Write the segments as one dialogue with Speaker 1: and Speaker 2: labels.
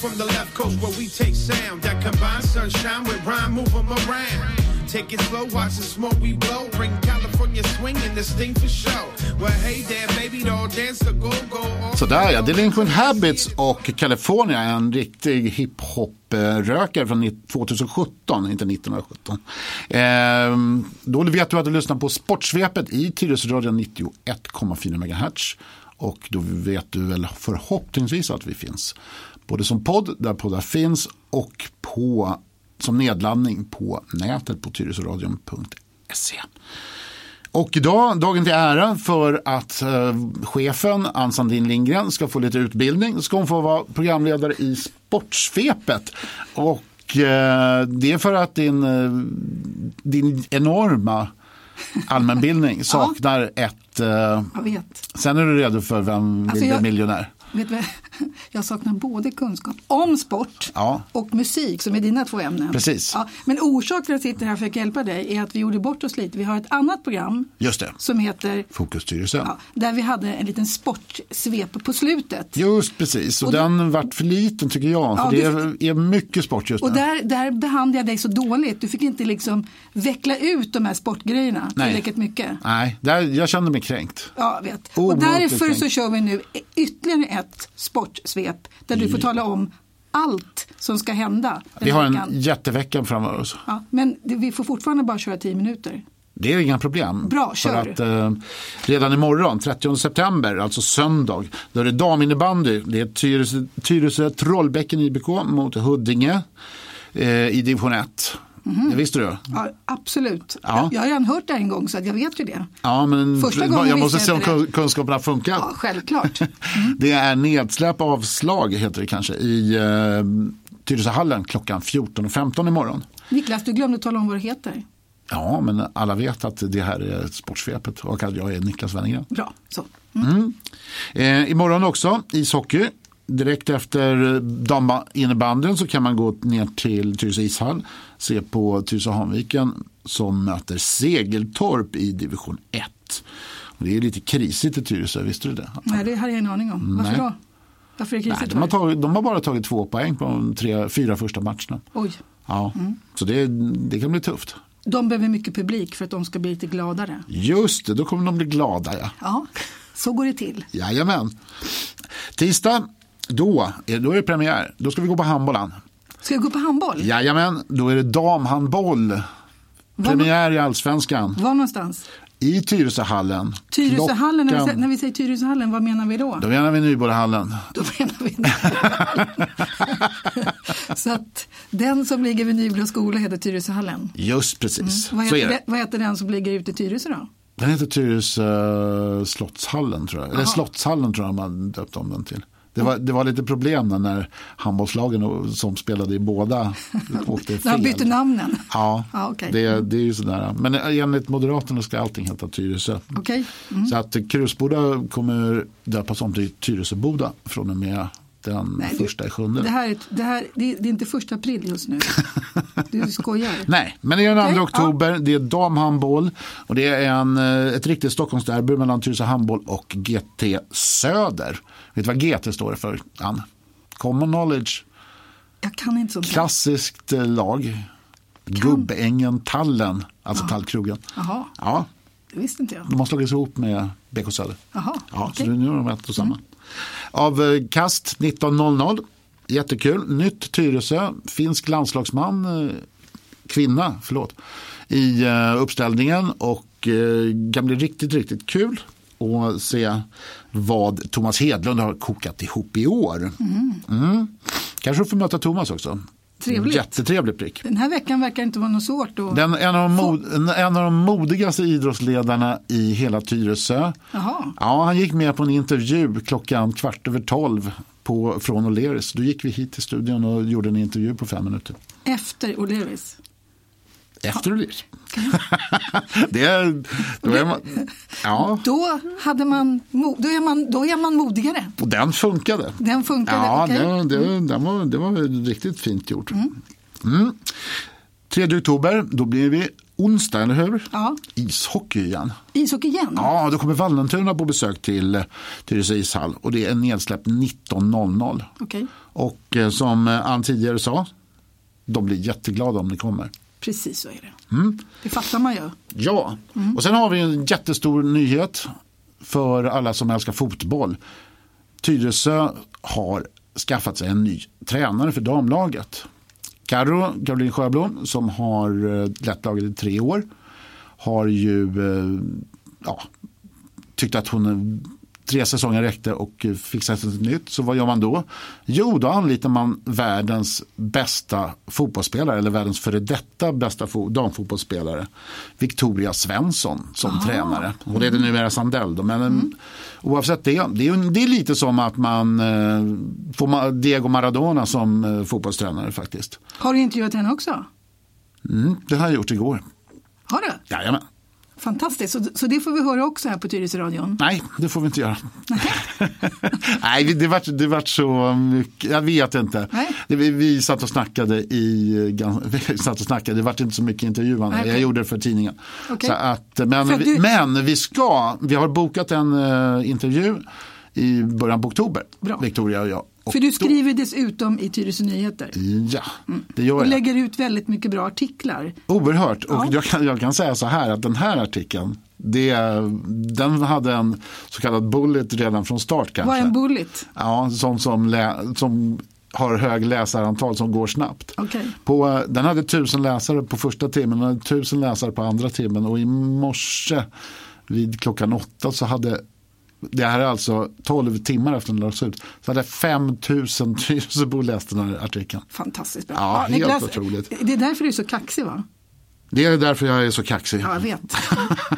Speaker 1: from the left coast where we take sound that combines sunshine with rhyme, move 'em around. Take it slow, watch the smoke we blow. Bring California swing in this thing for show. Well, hey there, baby, don't dance the go-go. all
Speaker 2: Sådär ja, Delinquent Habits och California är en riktig hiphop-rökare från ni- 2017, inte 1917. Ehm, då vet du att du lyssnar på Sportsvepet i Tyresöradion 91,4 MHz. Och då vet du väl förhoppningsvis att vi finns. Både som podd, där poddar finns, och på, som nedladdning på nätet på tyresöradion.se. Och idag, dagen till ära för att eh, chefen Ann Sandin Lindgren ska få lite utbildning ska hon få vara programledare i Sportsvepet. Och eh, det är för att din, eh, din enorma allmänbildning saknar ett... Eh,
Speaker 3: Jag vet.
Speaker 2: sen är du redo för Vem vill
Speaker 3: Alltså,
Speaker 2: bli
Speaker 3: jag-
Speaker 2: miljonär?
Speaker 3: vet du, vad? jag saknar både kunskap om sport
Speaker 2: Ja.
Speaker 3: och musik som är dina två ämnen.
Speaker 2: Precis.
Speaker 3: Ja, men orsaken till att jag sitter här för att hjälpa dig är att vi gjorde bort oss lite. Vi har ett annat program
Speaker 2: Just det,
Speaker 3: som heter
Speaker 2: Fokusstyrelsen.
Speaker 3: ja, där vi hade en liten sportsvep på slutet.
Speaker 2: Just precis, och,
Speaker 3: Och det-
Speaker 2: den vart för liten tycker jag. För
Speaker 3: Ja,
Speaker 2: det,
Speaker 3: det-
Speaker 2: är, är mycket sport just
Speaker 3: Och
Speaker 2: nu.
Speaker 3: där, där behandlade jag dig så dåligt. Du fick inte liksom veckla ut de här sportgrejerna
Speaker 2: Nej.
Speaker 3: tillräckligt mycket.
Speaker 2: Nej, där, jag kände mig kränkt.
Speaker 3: Ja, vet. Och
Speaker 2: Omåttligt
Speaker 3: därför så
Speaker 2: tänkt.
Speaker 3: kör vi nu ytterligare ett sportsvep där du får tala om allt som ska hända den
Speaker 2: Vi har
Speaker 3: här
Speaker 2: en
Speaker 3: veckan.
Speaker 2: jättevecka framför oss.
Speaker 3: Ja, men det- vi får fortfarande bara köra 10
Speaker 2: Mm.
Speaker 3: minuter.
Speaker 2: Det är inga problem.
Speaker 3: Bra,
Speaker 2: För
Speaker 3: kör.
Speaker 2: att eh, redan imorgon, 30 september, alltså söndag, då är det daminnebandy. Det är Tyresö, Tyresö Trollbäcken IBK mot Huddinge eh, i division 1.
Speaker 3: Mhm.
Speaker 2: Det visste du?
Speaker 3: Ja, absolut.
Speaker 2: Ja.
Speaker 3: Jag, jag har redan hört det här en gång så att jag vet ju det.
Speaker 2: Ja, men
Speaker 3: Första
Speaker 2: jag
Speaker 3: gången
Speaker 2: måste
Speaker 3: visste
Speaker 2: se
Speaker 3: jag
Speaker 2: om
Speaker 3: inte
Speaker 2: kun- kunskaperna funkar.
Speaker 3: Ja, mhm. självklart.
Speaker 2: Det är nedsläpp och avslag, heter det kanske, i eh, Tyresöhallen klockan 14.15 imorgon.
Speaker 3: Niklas, du glömde tala om vad du heter.
Speaker 2: Ja, men alla vet att det här är Sportsvepet och att jag är Niklas Wennergren.
Speaker 3: Bra, så.
Speaker 2: Eh, imorgon också ishockey. Direkt efter daminnebandyn så kan man gå ner till Tyresö ishall. Se på Tyresö Hanviken som möter Segeltorp i division 1. Och Det är lite krisigt i Tyresö, visste du det?
Speaker 3: Nej, det hade jag ingen aning om. Varför
Speaker 2: Nej.
Speaker 3: då? Varför är det
Speaker 2: Nej,
Speaker 3: krisigt?
Speaker 2: de, har
Speaker 3: för?
Speaker 2: tagit, de har bara tagit två poäng på de tre, fyra första matcherna.
Speaker 3: Oj.
Speaker 2: Ja, Så det, det kan bli tufft.
Speaker 3: De behöver mycket publik för att de ska bli lite gladare.
Speaker 2: Just det, då kommer de bli glada. Ja.
Speaker 3: Ja, så går det till.
Speaker 2: Jajamän. Tisdag, då, är- då är det premiär. Då ska vi gå på handbollen.
Speaker 3: Ska jag gå på handboll?
Speaker 2: Jajamän, då är det damhandboll.
Speaker 3: Var,
Speaker 2: Premiär i Allsvenskan
Speaker 3: var någonstans?
Speaker 2: i Tyresöhallen.
Speaker 3: Tyresöhallen, när vi, sä-
Speaker 2: Klockan-
Speaker 3: när vi säger Tyresöhallen, vad menar vi då?
Speaker 2: Då menar vi Nyborgahallen.
Speaker 3: Då menar vi Så att den som ligger vid Nybro skola heter Tyresöhallen.
Speaker 2: Just precis,
Speaker 3: Vad
Speaker 2: så
Speaker 3: heter,
Speaker 2: är
Speaker 3: den,
Speaker 2: det.
Speaker 3: vad heter den som ligger ute i Tyresö då?
Speaker 2: Den heter Tyresö slottshallen tror jag. Eller slottshallen tror jag man döpte om den till. Det var, det var lite problem när- när handbollslagen och- som spelade i båda åkte
Speaker 3: När
Speaker 2: fel.
Speaker 3: de bytte namnen?
Speaker 2: Ja,
Speaker 3: Ja, okej.
Speaker 2: det, det är ju sådär. Men enligt Moderaterna ska allting heta Tyresö.
Speaker 3: Okej.
Speaker 2: Så att Krusboda kommer döpas om till Tyresöboda från och med den
Speaker 3: Nej, du-
Speaker 2: första i sjunde.
Speaker 3: Det här, är, det, här det, är- det är inte första april just nu. Du skojar.
Speaker 2: Nej, men det är den 2
Speaker 3: Okej,
Speaker 2: oktober, det är damhandboll och det är en, eh, ett riktigt Stockholmsderby mellan Tyresö Handboll och GT Söder. Vet du vad GT står för, Ann? Common Knowledge,
Speaker 3: Jag kan inte sånt här.
Speaker 2: klassiskt eh, lag. Gubbängen Tallen, alltså Tallkrogen.
Speaker 3: Jaha,
Speaker 2: Ja,
Speaker 3: det visste inte jag.
Speaker 2: de har slagits ihop med BK Söder.
Speaker 3: Jaha,
Speaker 2: Mm. Ja,
Speaker 3: okej. Mm.
Speaker 2: så nu är de ett och samma. Av eh, Kast 19.00. Jättekul. Nytt Tyresö. Finsk landslagsman. eh, Kvinna, förlåt. I eh, uppställningen. Och eh, kan bli riktigt, riktigt kul. Och se vad Thomas Hedlund har kokat ihop i år. Mm. Kanske du får möta Thomas också.
Speaker 3: Trevligt.
Speaker 2: Jättetrevlig prick.
Speaker 3: Den här veckan verkar inte vara något svårt. Och...
Speaker 2: Den, en, av de mod, en- en av de modigaste idrottsledarna i hela Tyresö.
Speaker 3: Jaha.
Speaker 2: Ja, han gick med på en intervju klockan kvart över tolv på, från O'Learys. Då gick vi hit till studion och gjorde en intervju på fem minuter.
Speaker 3: Efter O'Learys.
Speaker 2: Efter O'Learys. det är... Då är man, ja,
Speaker 3: Då, hade man, mo- då, är man, då är man modigare.
Speaker 2: och den funkade.
Speaker 3: Den funkade.
Speaker 2: Ja,
Speaker 3: okej. Mm.
Speaker 2: det, det, det, var, det var riktigt fint gjort. Mm. 3 Mm. oktober, då blir vi onsdag, eller hur?
Speaker 3: Ja.
Speaker 2: Ishockey igen.
Speaker 3: Ishockey igen?
Speaker 2: Ja, då kommer Vallentuna på besök till Tyresö ishall och det är nedsläpp 19.00.
Speaker 3: Okej,
Speaker 2: Och eh, som eh, Ann tidigare sa, de blir jätteglada om ni kommer.
Speaker 3: precis så är det.
Speaker 2: Mm.
Speaker 3: Det fattar man ju.
Speaker 2: Ja, Mm. och sen har vi en jättestor nyhet för alla som älskar fotboll. Tyresö har skaffat sig en ny tränare för damlaget. Karo, Caroline Sjöblom, som har eh, lett laget i tre år, har ju eh, ja, tyckt att hon tre säsonger räckte och eh, fixat ett nytt. Så vad gör man då? Jo, då anlitar man världens bästa fotbollsspelare eller världens före detta bästa fo- damfotbollsspelare. Victoria Svensson som tränare. Hon heter numera Sandell. Då, men eh, oavsett det, det är, ju en- det är lite som att man eh, får Ma- Diego Maradona som eh, fotbollstränare faktiskt.
Speaker 3: Har du intervjuat henne också?
Speaker 2: Mm, det har jag gjort igår.
Speaker 3: Har du?
Speaker 2: Jajamän.
Speaker 3: Fantastiskt, så, så det får vi höra också här på Tyresöradion.
Speaker 2: Nej, det får vi inte göra. Nej, det vart, det vart så mycket. Jag vet inte.
Speaker 3: Nej.
Speaker 2: Det, vi, vi satt och snackade i... eh, gans- Vi satt och snackade. Det vart inte så mycket intervjuande.
Speaker 3: Okej.
Speaker 2: Jag gjorde det för tidningen.
Speaker 3: Okej.
Speaker 2: Så att, eh, men,
Speaker 3: För att du-
Speaker 2: vi, men vi ska... Vi har bokat en eh, intervju i början på oktober.
Speaker 3: Bra.
Speaker 2: Victoria och jag. Och
Speaker 3: För du
Speaker 2: då-
Speaker 3: skriver dessutom i Tyresö Nyheter
Speaker 2: Ja, det gör
Speaker 3: och
Speaker 2: jag.
Speaker 3: Mm. lägger ut väldigt mycket bra artiklar.
Speaker 2: Oerhört. Och
Speaker 3: Ja.
Speaker 2: jag, kan, jag kan säga så här att den här artikeln, det, den hade en så kallad bullet redan från start kanske.
Speaker 3: Vad är en bullet?
Speaker 2: Ja, sånt som, lä- som har hög läsarantal som går snabbt.
Speaker 3: Okej.
Speaker 2: På, eh, den hade tusen läsare på första timmen, den hade tusen läsare på andra timmen och i morse vid klockan åtta så hade det här är alltså 12 timmar efter den lades ut. Så hade 5000 Tyresöbor läst den här artikeln.
Speaker 3: Fantastiskt bra.
Speaker 2: Ja, helt otroligt.
Speaker 3: Det är därför du är så kaxig va?
Speaker 2: Det är därför jag är så kaxig.
Speaker 3: Ja, jag vet.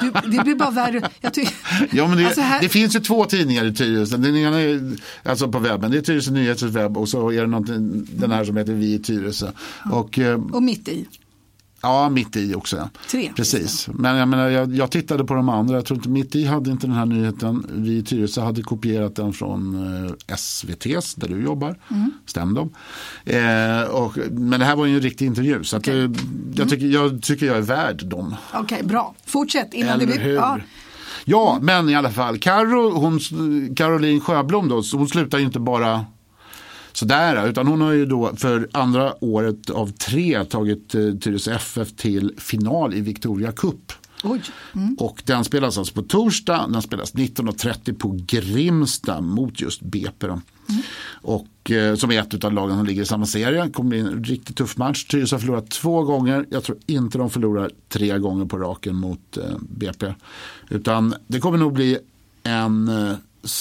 Speaker 3: Du, det blir bara värre. Jag ty-
Speaker 2: Ja, men det,
Speaker 3: Alltså, här-
Speaker 2: det finns ju två tidningar i Tyresö. Den ena är alltså på webben. Det är Tyresö Nyheters webb och så är det någonting, den här som heter Vi i Tyresö. Och, eh,
Speaker 3: Och mitt i.
Speaker 2: Ja, mitt i också. ja.
Speaker 3: Tre,
Speaker 2: Precis. Men jag, menar, jag, jag tittade på de andra. Jag tror inte, mitt i hade inte den här nyheten. Vi i Tyresö hade kopierat den från eh, SVTs, där du jobbar. Stäm dem. Eh, och, men det här var ju en riktig intervju. Så att, eh, jag, tycker, jag tycker jag är värd dem.
Speaker 3: Okej, bra. Fortsätt. Innan
Speaker 2: Eller
Speaker 3: det blir...
Speaker 2: hur? Ja. men i alla fall. Karo, hon, Caroline Sjöblom då, hon slutar ju inte bara sådär. Utan hon har ju då för andra året av tre tagit eh, Tyresö FF till final i Victoria Cup.
Speaker 3: Oj.
Speaker 2: Och den spelas alltså på torsdag, den spelas 19.30 på Grimsta mot just BP. Då. Och eh, som är ett av lagen som ligger i samma serie. Det kommer bli en riktigt tuff match. Tyresö har förlorat två gånger. Jag tror inte de förlorar tre gånger på raken mot eh, BP. Utan det kommer nog bli en eh,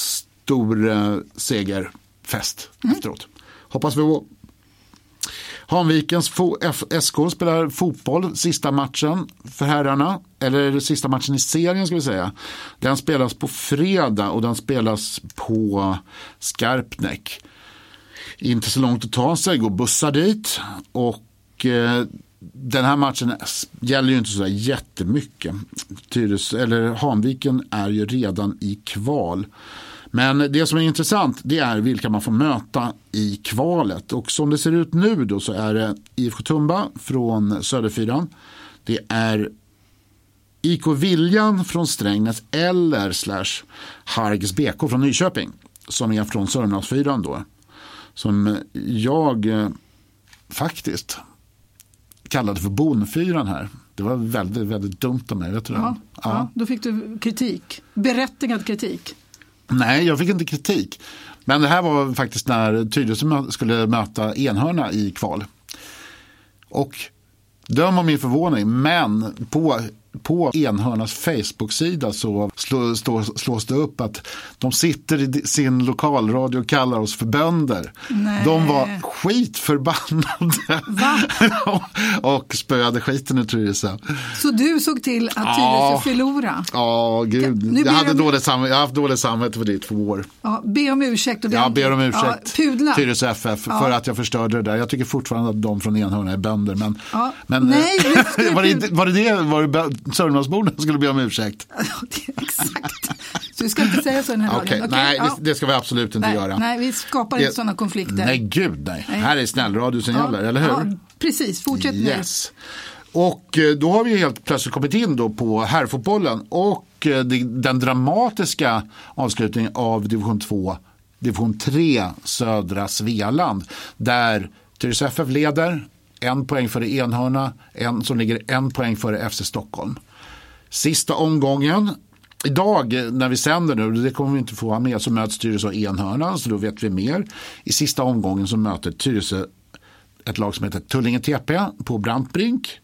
Speaker 2: stor eh, segerfest efteråt. Hoppas vi Hanvikens fo- F- SK spelar fotboll sista matchen för herrarna. Eller sista matchen i serien ska vi säga. Den spelas på fredag och den spelas på Skarpnäck. Inte så långt att ta sig, går bussar dit. Och eh, den här matchen s- gäller ju inte så där jättemycket. Tyres, eller Hanviken är ju redan i kval. Men det som är intressant det är vilka man får möta i kvalet. Och som det ser ut nu då så är det IFK Tumba från Söderfyran. Det är IK Viljan från Strängnäs eller slash Hargs BK från Nyköping. Som är från Sörmlandsfyran då. Som jag eh, faktiskt kallade för Bonfyran här. Det var väldigt, väldigt dumt av mig. Vet du det?
Speaker 3: Ja, ja. då fick du kritik. Berättigad kritik.
Speaker 2: Nej, jag fick inte kritik. Men det här var faktiskt när Tyresö mö- skulle möta Enhörna i kval. Och döm om min förvåning, men på, på Enhörnas Facebook-sida så slå, stå, slås det upp att de sitter i di- sin lokalradio och kallar oss för bönder.
Speaker 3: Nej.
Speaker 2: De var skitförbannade och spöade skiten ur Tyresö.
Speaker 3: Så du såg till att Tyresö
Speaker 2: Ja.
Speaker 3: förlorade.
Speaker 2: Ja, gud.
Speaker 3: Nu blir
Speaker 2: jag, hade
Speaker 3: det-
Speaker 2: dåligt samv- jag har haft dåligt samvete för det i två år.
Speaker 3: Ja, be om ursäkt. Och
Speaker 2: Jag ber om ursäkt,
Speaker 3: Ja, pudla.
Speaker 2: Tyresö FF, för att jag förstörde det där. Jag tycker fortfarande att de från Enhörna är bönder. Men,
Speaker 3: Ja.
Speaker 2: men eh,
Speaker 3: Nej, nu ska du-
Speaker 2: var, det, inte- var det det, var det bö- Sörmlandsborna som skulle be om ursäkt?
Speaker 3: Ja, det är exakt. Så du ska inte säga så i den här
Speaker 2: Okej,
Speaker 3: radion.
Speaker 2: nej,
Speaker 3: ja.
Speaker 2: det, det ska vi absolut inte
Speaker 3: nej,
Speaker 2: göra.
Speaker 3: Nej, vi skapar
Speaker 2: Det-
Speaker 3: inte sådana konflikter.
Speaker 2: Nej, gud nej.
Speaker 3: Nej.
Speaker 2: Här är snällradio som
Speaker 3: Ja,
Speaker 2: gäller, eller hur?
Speaker 3: Ja, precis, fortsätt nu.
Speaker 2: Yes. Och eh, då har vi helt plötsligt kommit in då på herrfotbollen och eh, det- den dramatiska avslutningen av division 2, division 3, södra Svealand. Där Tyresö FF leder, en poäng före Enhörna, en som ligger en poäng före FC Stockholm. Sista omgången. Idag eh, när vi sänder nu, det kommer vi inte få ha med, så möts Tyresö och Enhörna, så då vet vi mer. I sista omgången så möter Tyresö ett lag som heter Tullinge TP på Brantbrink.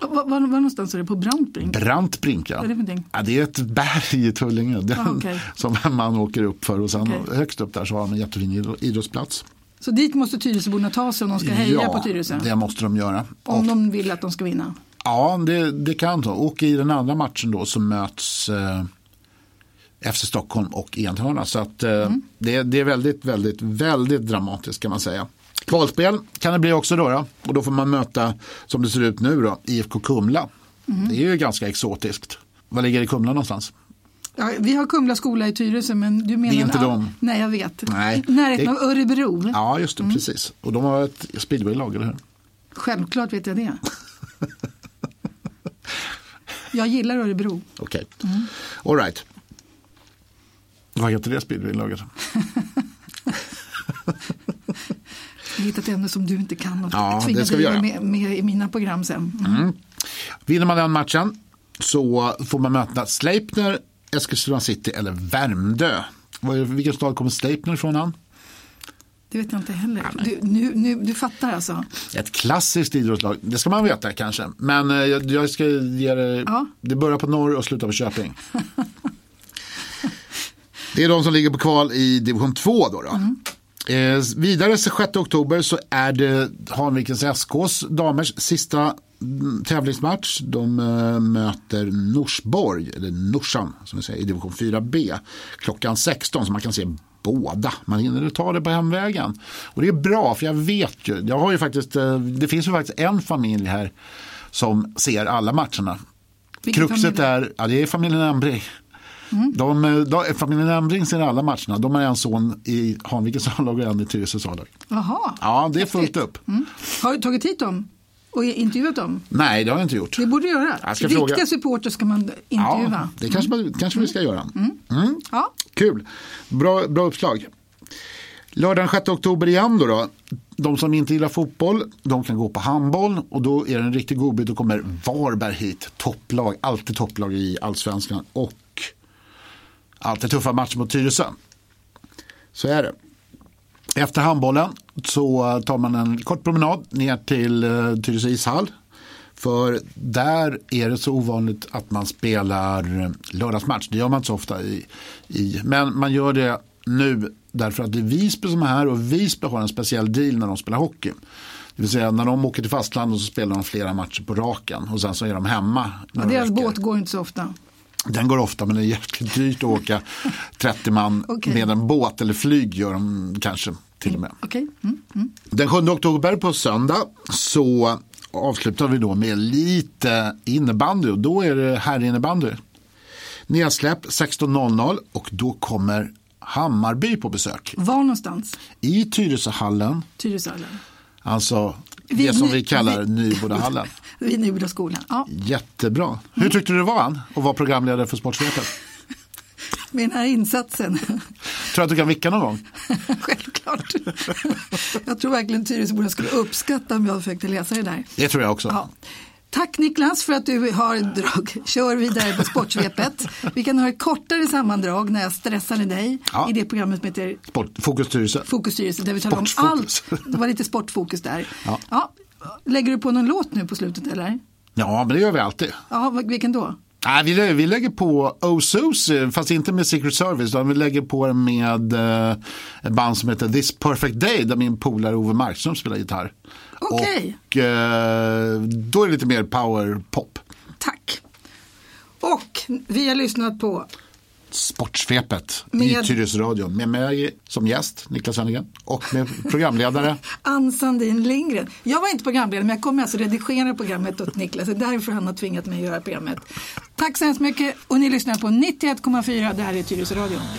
Speaker 3: Var, var, var någonstans är det? På Brantbrink?
Speaker 2: Brantbrink, ja.
Speaker 3: Vad är det för någonting?
Speaker 2: ja, det är ett berg i Tullinge den,
Speaker 3: Ah, okej.
Speaker 2: som man åker upp för och sen
Speaker 3: Okej.
Speaker 2: högst upp där så har de en jättefin idro- idrottsplats.
Speaker 3: Så dit måste Tyresöborna ta sig om de ska heja på Tyresö.
Speaker 2: det måste de göra.
Speaker 3: Om de vill att de ska vinna.
Speaker 2: Ja, det, det kan så. Och i den andra matchen då så möts eh, FC Stockholm och Enhörna. Så att, eh, det, det är väldigt, väldigt, väldigt dramatiskt kan man säga. Kvalspel kan det bli också då, då. Och då får man möta, som det ser ut nu då, IFK Kumla. Det är ju ganska exotiskt. Var ligger det Kumla någonstans?
Speaker 3: Ja, vi har Kumla skola i Tyresö men du menar...
Speaker 2: Det är inte
Speaker 3: Ja,
Speaker 2: dem.
Speaker 3: Nej, jag vet.
Speaker 2: Nej,
Speaker 3: I Närheten
Speaker 2: det-
Speaker 3: av Örebro.
Speaker 2: Ja, just det, precis. Och de har ett speedwaylag, eller hur?
Speaker 3: Självklart vet jag det. jag gillar Örebro.
Speaker 2: Okej. All right. Vad heter det speedwaylaget?
Speaker 3: Jag har hittat ämne som du inte kan och
Speaker 2: Ja, det
Speaker 3: tvingar
Speaker 2: ska vi
Speaker 3: dig
Speaker 2: göra.
Speaker 3: Med, med i mina program sen. Mm.
Speaker 2: Vinner man den matchen så får man möta Sleipner, Eskilstuna City eller Värmdö. Vad är- Vilken stad kommer Sleipner ifrån? Han?
Speaker 3: Det vet jag inte heller. Du, nu, nu, du fattar alltså.
Speaker 2: Ett klassiskt idrottslag, det ska man veta kanske. Men eh, jag, jag ska ge det,
Speaker 3: Ja.
Speaker 2: det börjar på norr och slutar på Köping. det är de som ligger på kval i division 2 då. då.
Speaker 3: Mm.
Speaker 2: Eh, vidare så 6 oktober så är det Hanvikens SKs damers sista mm, tävlingsmatch. De eh, möter Norsborg, eller Norsan som vi säger, i division 4B. Klockan 16 så man kan se båda. Man hinner ta det på hemvägen. Och det är bra för jag vet ju, jag har ju faktiskt, eh, det finns ju faktiskt en familj här som ser alla matcherna.
Speaker 3: Vilken
Speaker 2: Kruxet
Speaker 3: familj?
Speaker 2: är, ja det är familjen Embring.
Speaker 3: Mm.
Speaker 2: De, eh, de, familjen Embring ser alla matcherna. De har en son i Hanvikens A-lag och en i Tyresös A-lag.
Speaker 3: Jaha.
Speaker 2: Ja, det är fullt upp.
Speaker 3: Mm. Har du tagit hit dem och intervjuat dem?
Speaker 2: Nej, det har jag inte gjort.
Speaker 3: Det borde du göra.
Speaker 2: Jag ska
Speaker 3: Riktiga
Speaker 2: fråga.
Speaker 3: supporter ska man
Speaker 2: Ja,
Speaker 3: intervjua.
Speaker 2: det kanske, man- kanske vi ska göra. Mm.
Speaker 3: Ja.
Speaker 2: Kul, bra, bra uppslag. Lördagen 6 oktober igen då, då. De som inte gillar fotboll, de kan gå på handboll och då är det en riktig godbit. Då kommer Varberg hit, topplag, alltid topplag i allsvenskan och alltid tuffa matcher mot Tyresö. Så är det. Efter handbollen så tar man en kort promenad ner till eh, Tyresö ishall. För där är det så ovanligt att man spelar eh, lördagsmatch. Det gör man inte så ofta. I, i. Men man gör det nu därför att det är Visby som är här och Visby har en speciell deal när de spelar hockey. Det vill säga när de åker till fastlandet så spelar de flera matcher på raken och sen så är de hemma.
Speaker 3: Ja,
Speaker 2: några
Speaker 3: deras
Speaker 2: veckor.
Speaker 3: båt går inte så ofta.
Speaker 2: Den går ofta men det är jäkligt dyrt att åka 30 man
Speaker 3: Okej.
Speaker 2: med en båt eller flyg gör de kanske till och med.
Speaker 3: Okej. Mm. Mm.
Speaker 2: Den 7 oktober på söndag så avslutar vi då med lite innebandy och då är det här innebandy. Nedsläpp 16.00 och då kommer Hammarby på besök
Speaker 3: Var någonstans?
Speaker 2: i Tyresöhallen,
Speaker 3: Tyresöhallen.
Speaker 2: alltså
Speaker 3: Vi-
Speaker 2: det som vi
Speaker 3: vi-
Speaker 2: kallar
Speaker 3: vi-
Speaker 2: Nybodahallen.
Speaker 3: Vid Nyboda skola. Ja,
Speaker 2: Jättebra. Hur tyckte du det var Ann, att vara programledare för Sportsvepet?
Speaker 3: med den här insatsen.
Speaker 2: Tror du att du kan vicka någon gång?
Speaker 3: Självklart. jag tror verkligen Tyresöborna skulle uppskatta om jag försökte läsa det där.
Speaker 2: Det tror jag också.
Speaker 3: Ja. Tack Niklas för att du har drag. Kör vidare på sportsvepet. Vi kan ha ett kortare sammandrag när jag stressade dig
Speaker 2: Ja.
Speaker 3: i det programmet som heter
Speaker 2: Sport, Fokus Tyresö.
Speaker 3: Fokus styrelse där vi talar om allt.
Speaker 2: Sportfokus.
Speaker 3: Det var lite sportfokus där.
Speaker 2: Ja.
Speaker 3: Ja. Lägger du på någon låt nu på slutet eller?
Speaker 2: Ja, men det gör vi alltid.
Speaker 3: Ja, vad- vilken då?
Speaker 2: Nej, vi, lä- vi lägger på Osus, eh, fast inte med Secret Service, utan vi lägger på den med eh, ett band som heter This Perfect Day, där min polare Ove Markström spelar gitarr.
Speaker 3: Okej.
Speaker 2: Och eh, då är det lite mer power pop.
Speaker 3: Tack. Och vi har lyssnat på
Speaker 2: Sportsvepet i
Speaker 3: Med-
Speaker 2: Tyresöradion med mig som gäst, Niklas Wennergren, och med programledare.
Speaker 3: Ann Sandin Lindgren. Jag var inte programledare men jag kommer alltså redigera programmet åt Niklas. Det är därför han har tvingat mig att göra programmet. Tack så hemskt mycket och ni lyssnar på 91,4. Det här är Tyresöradion.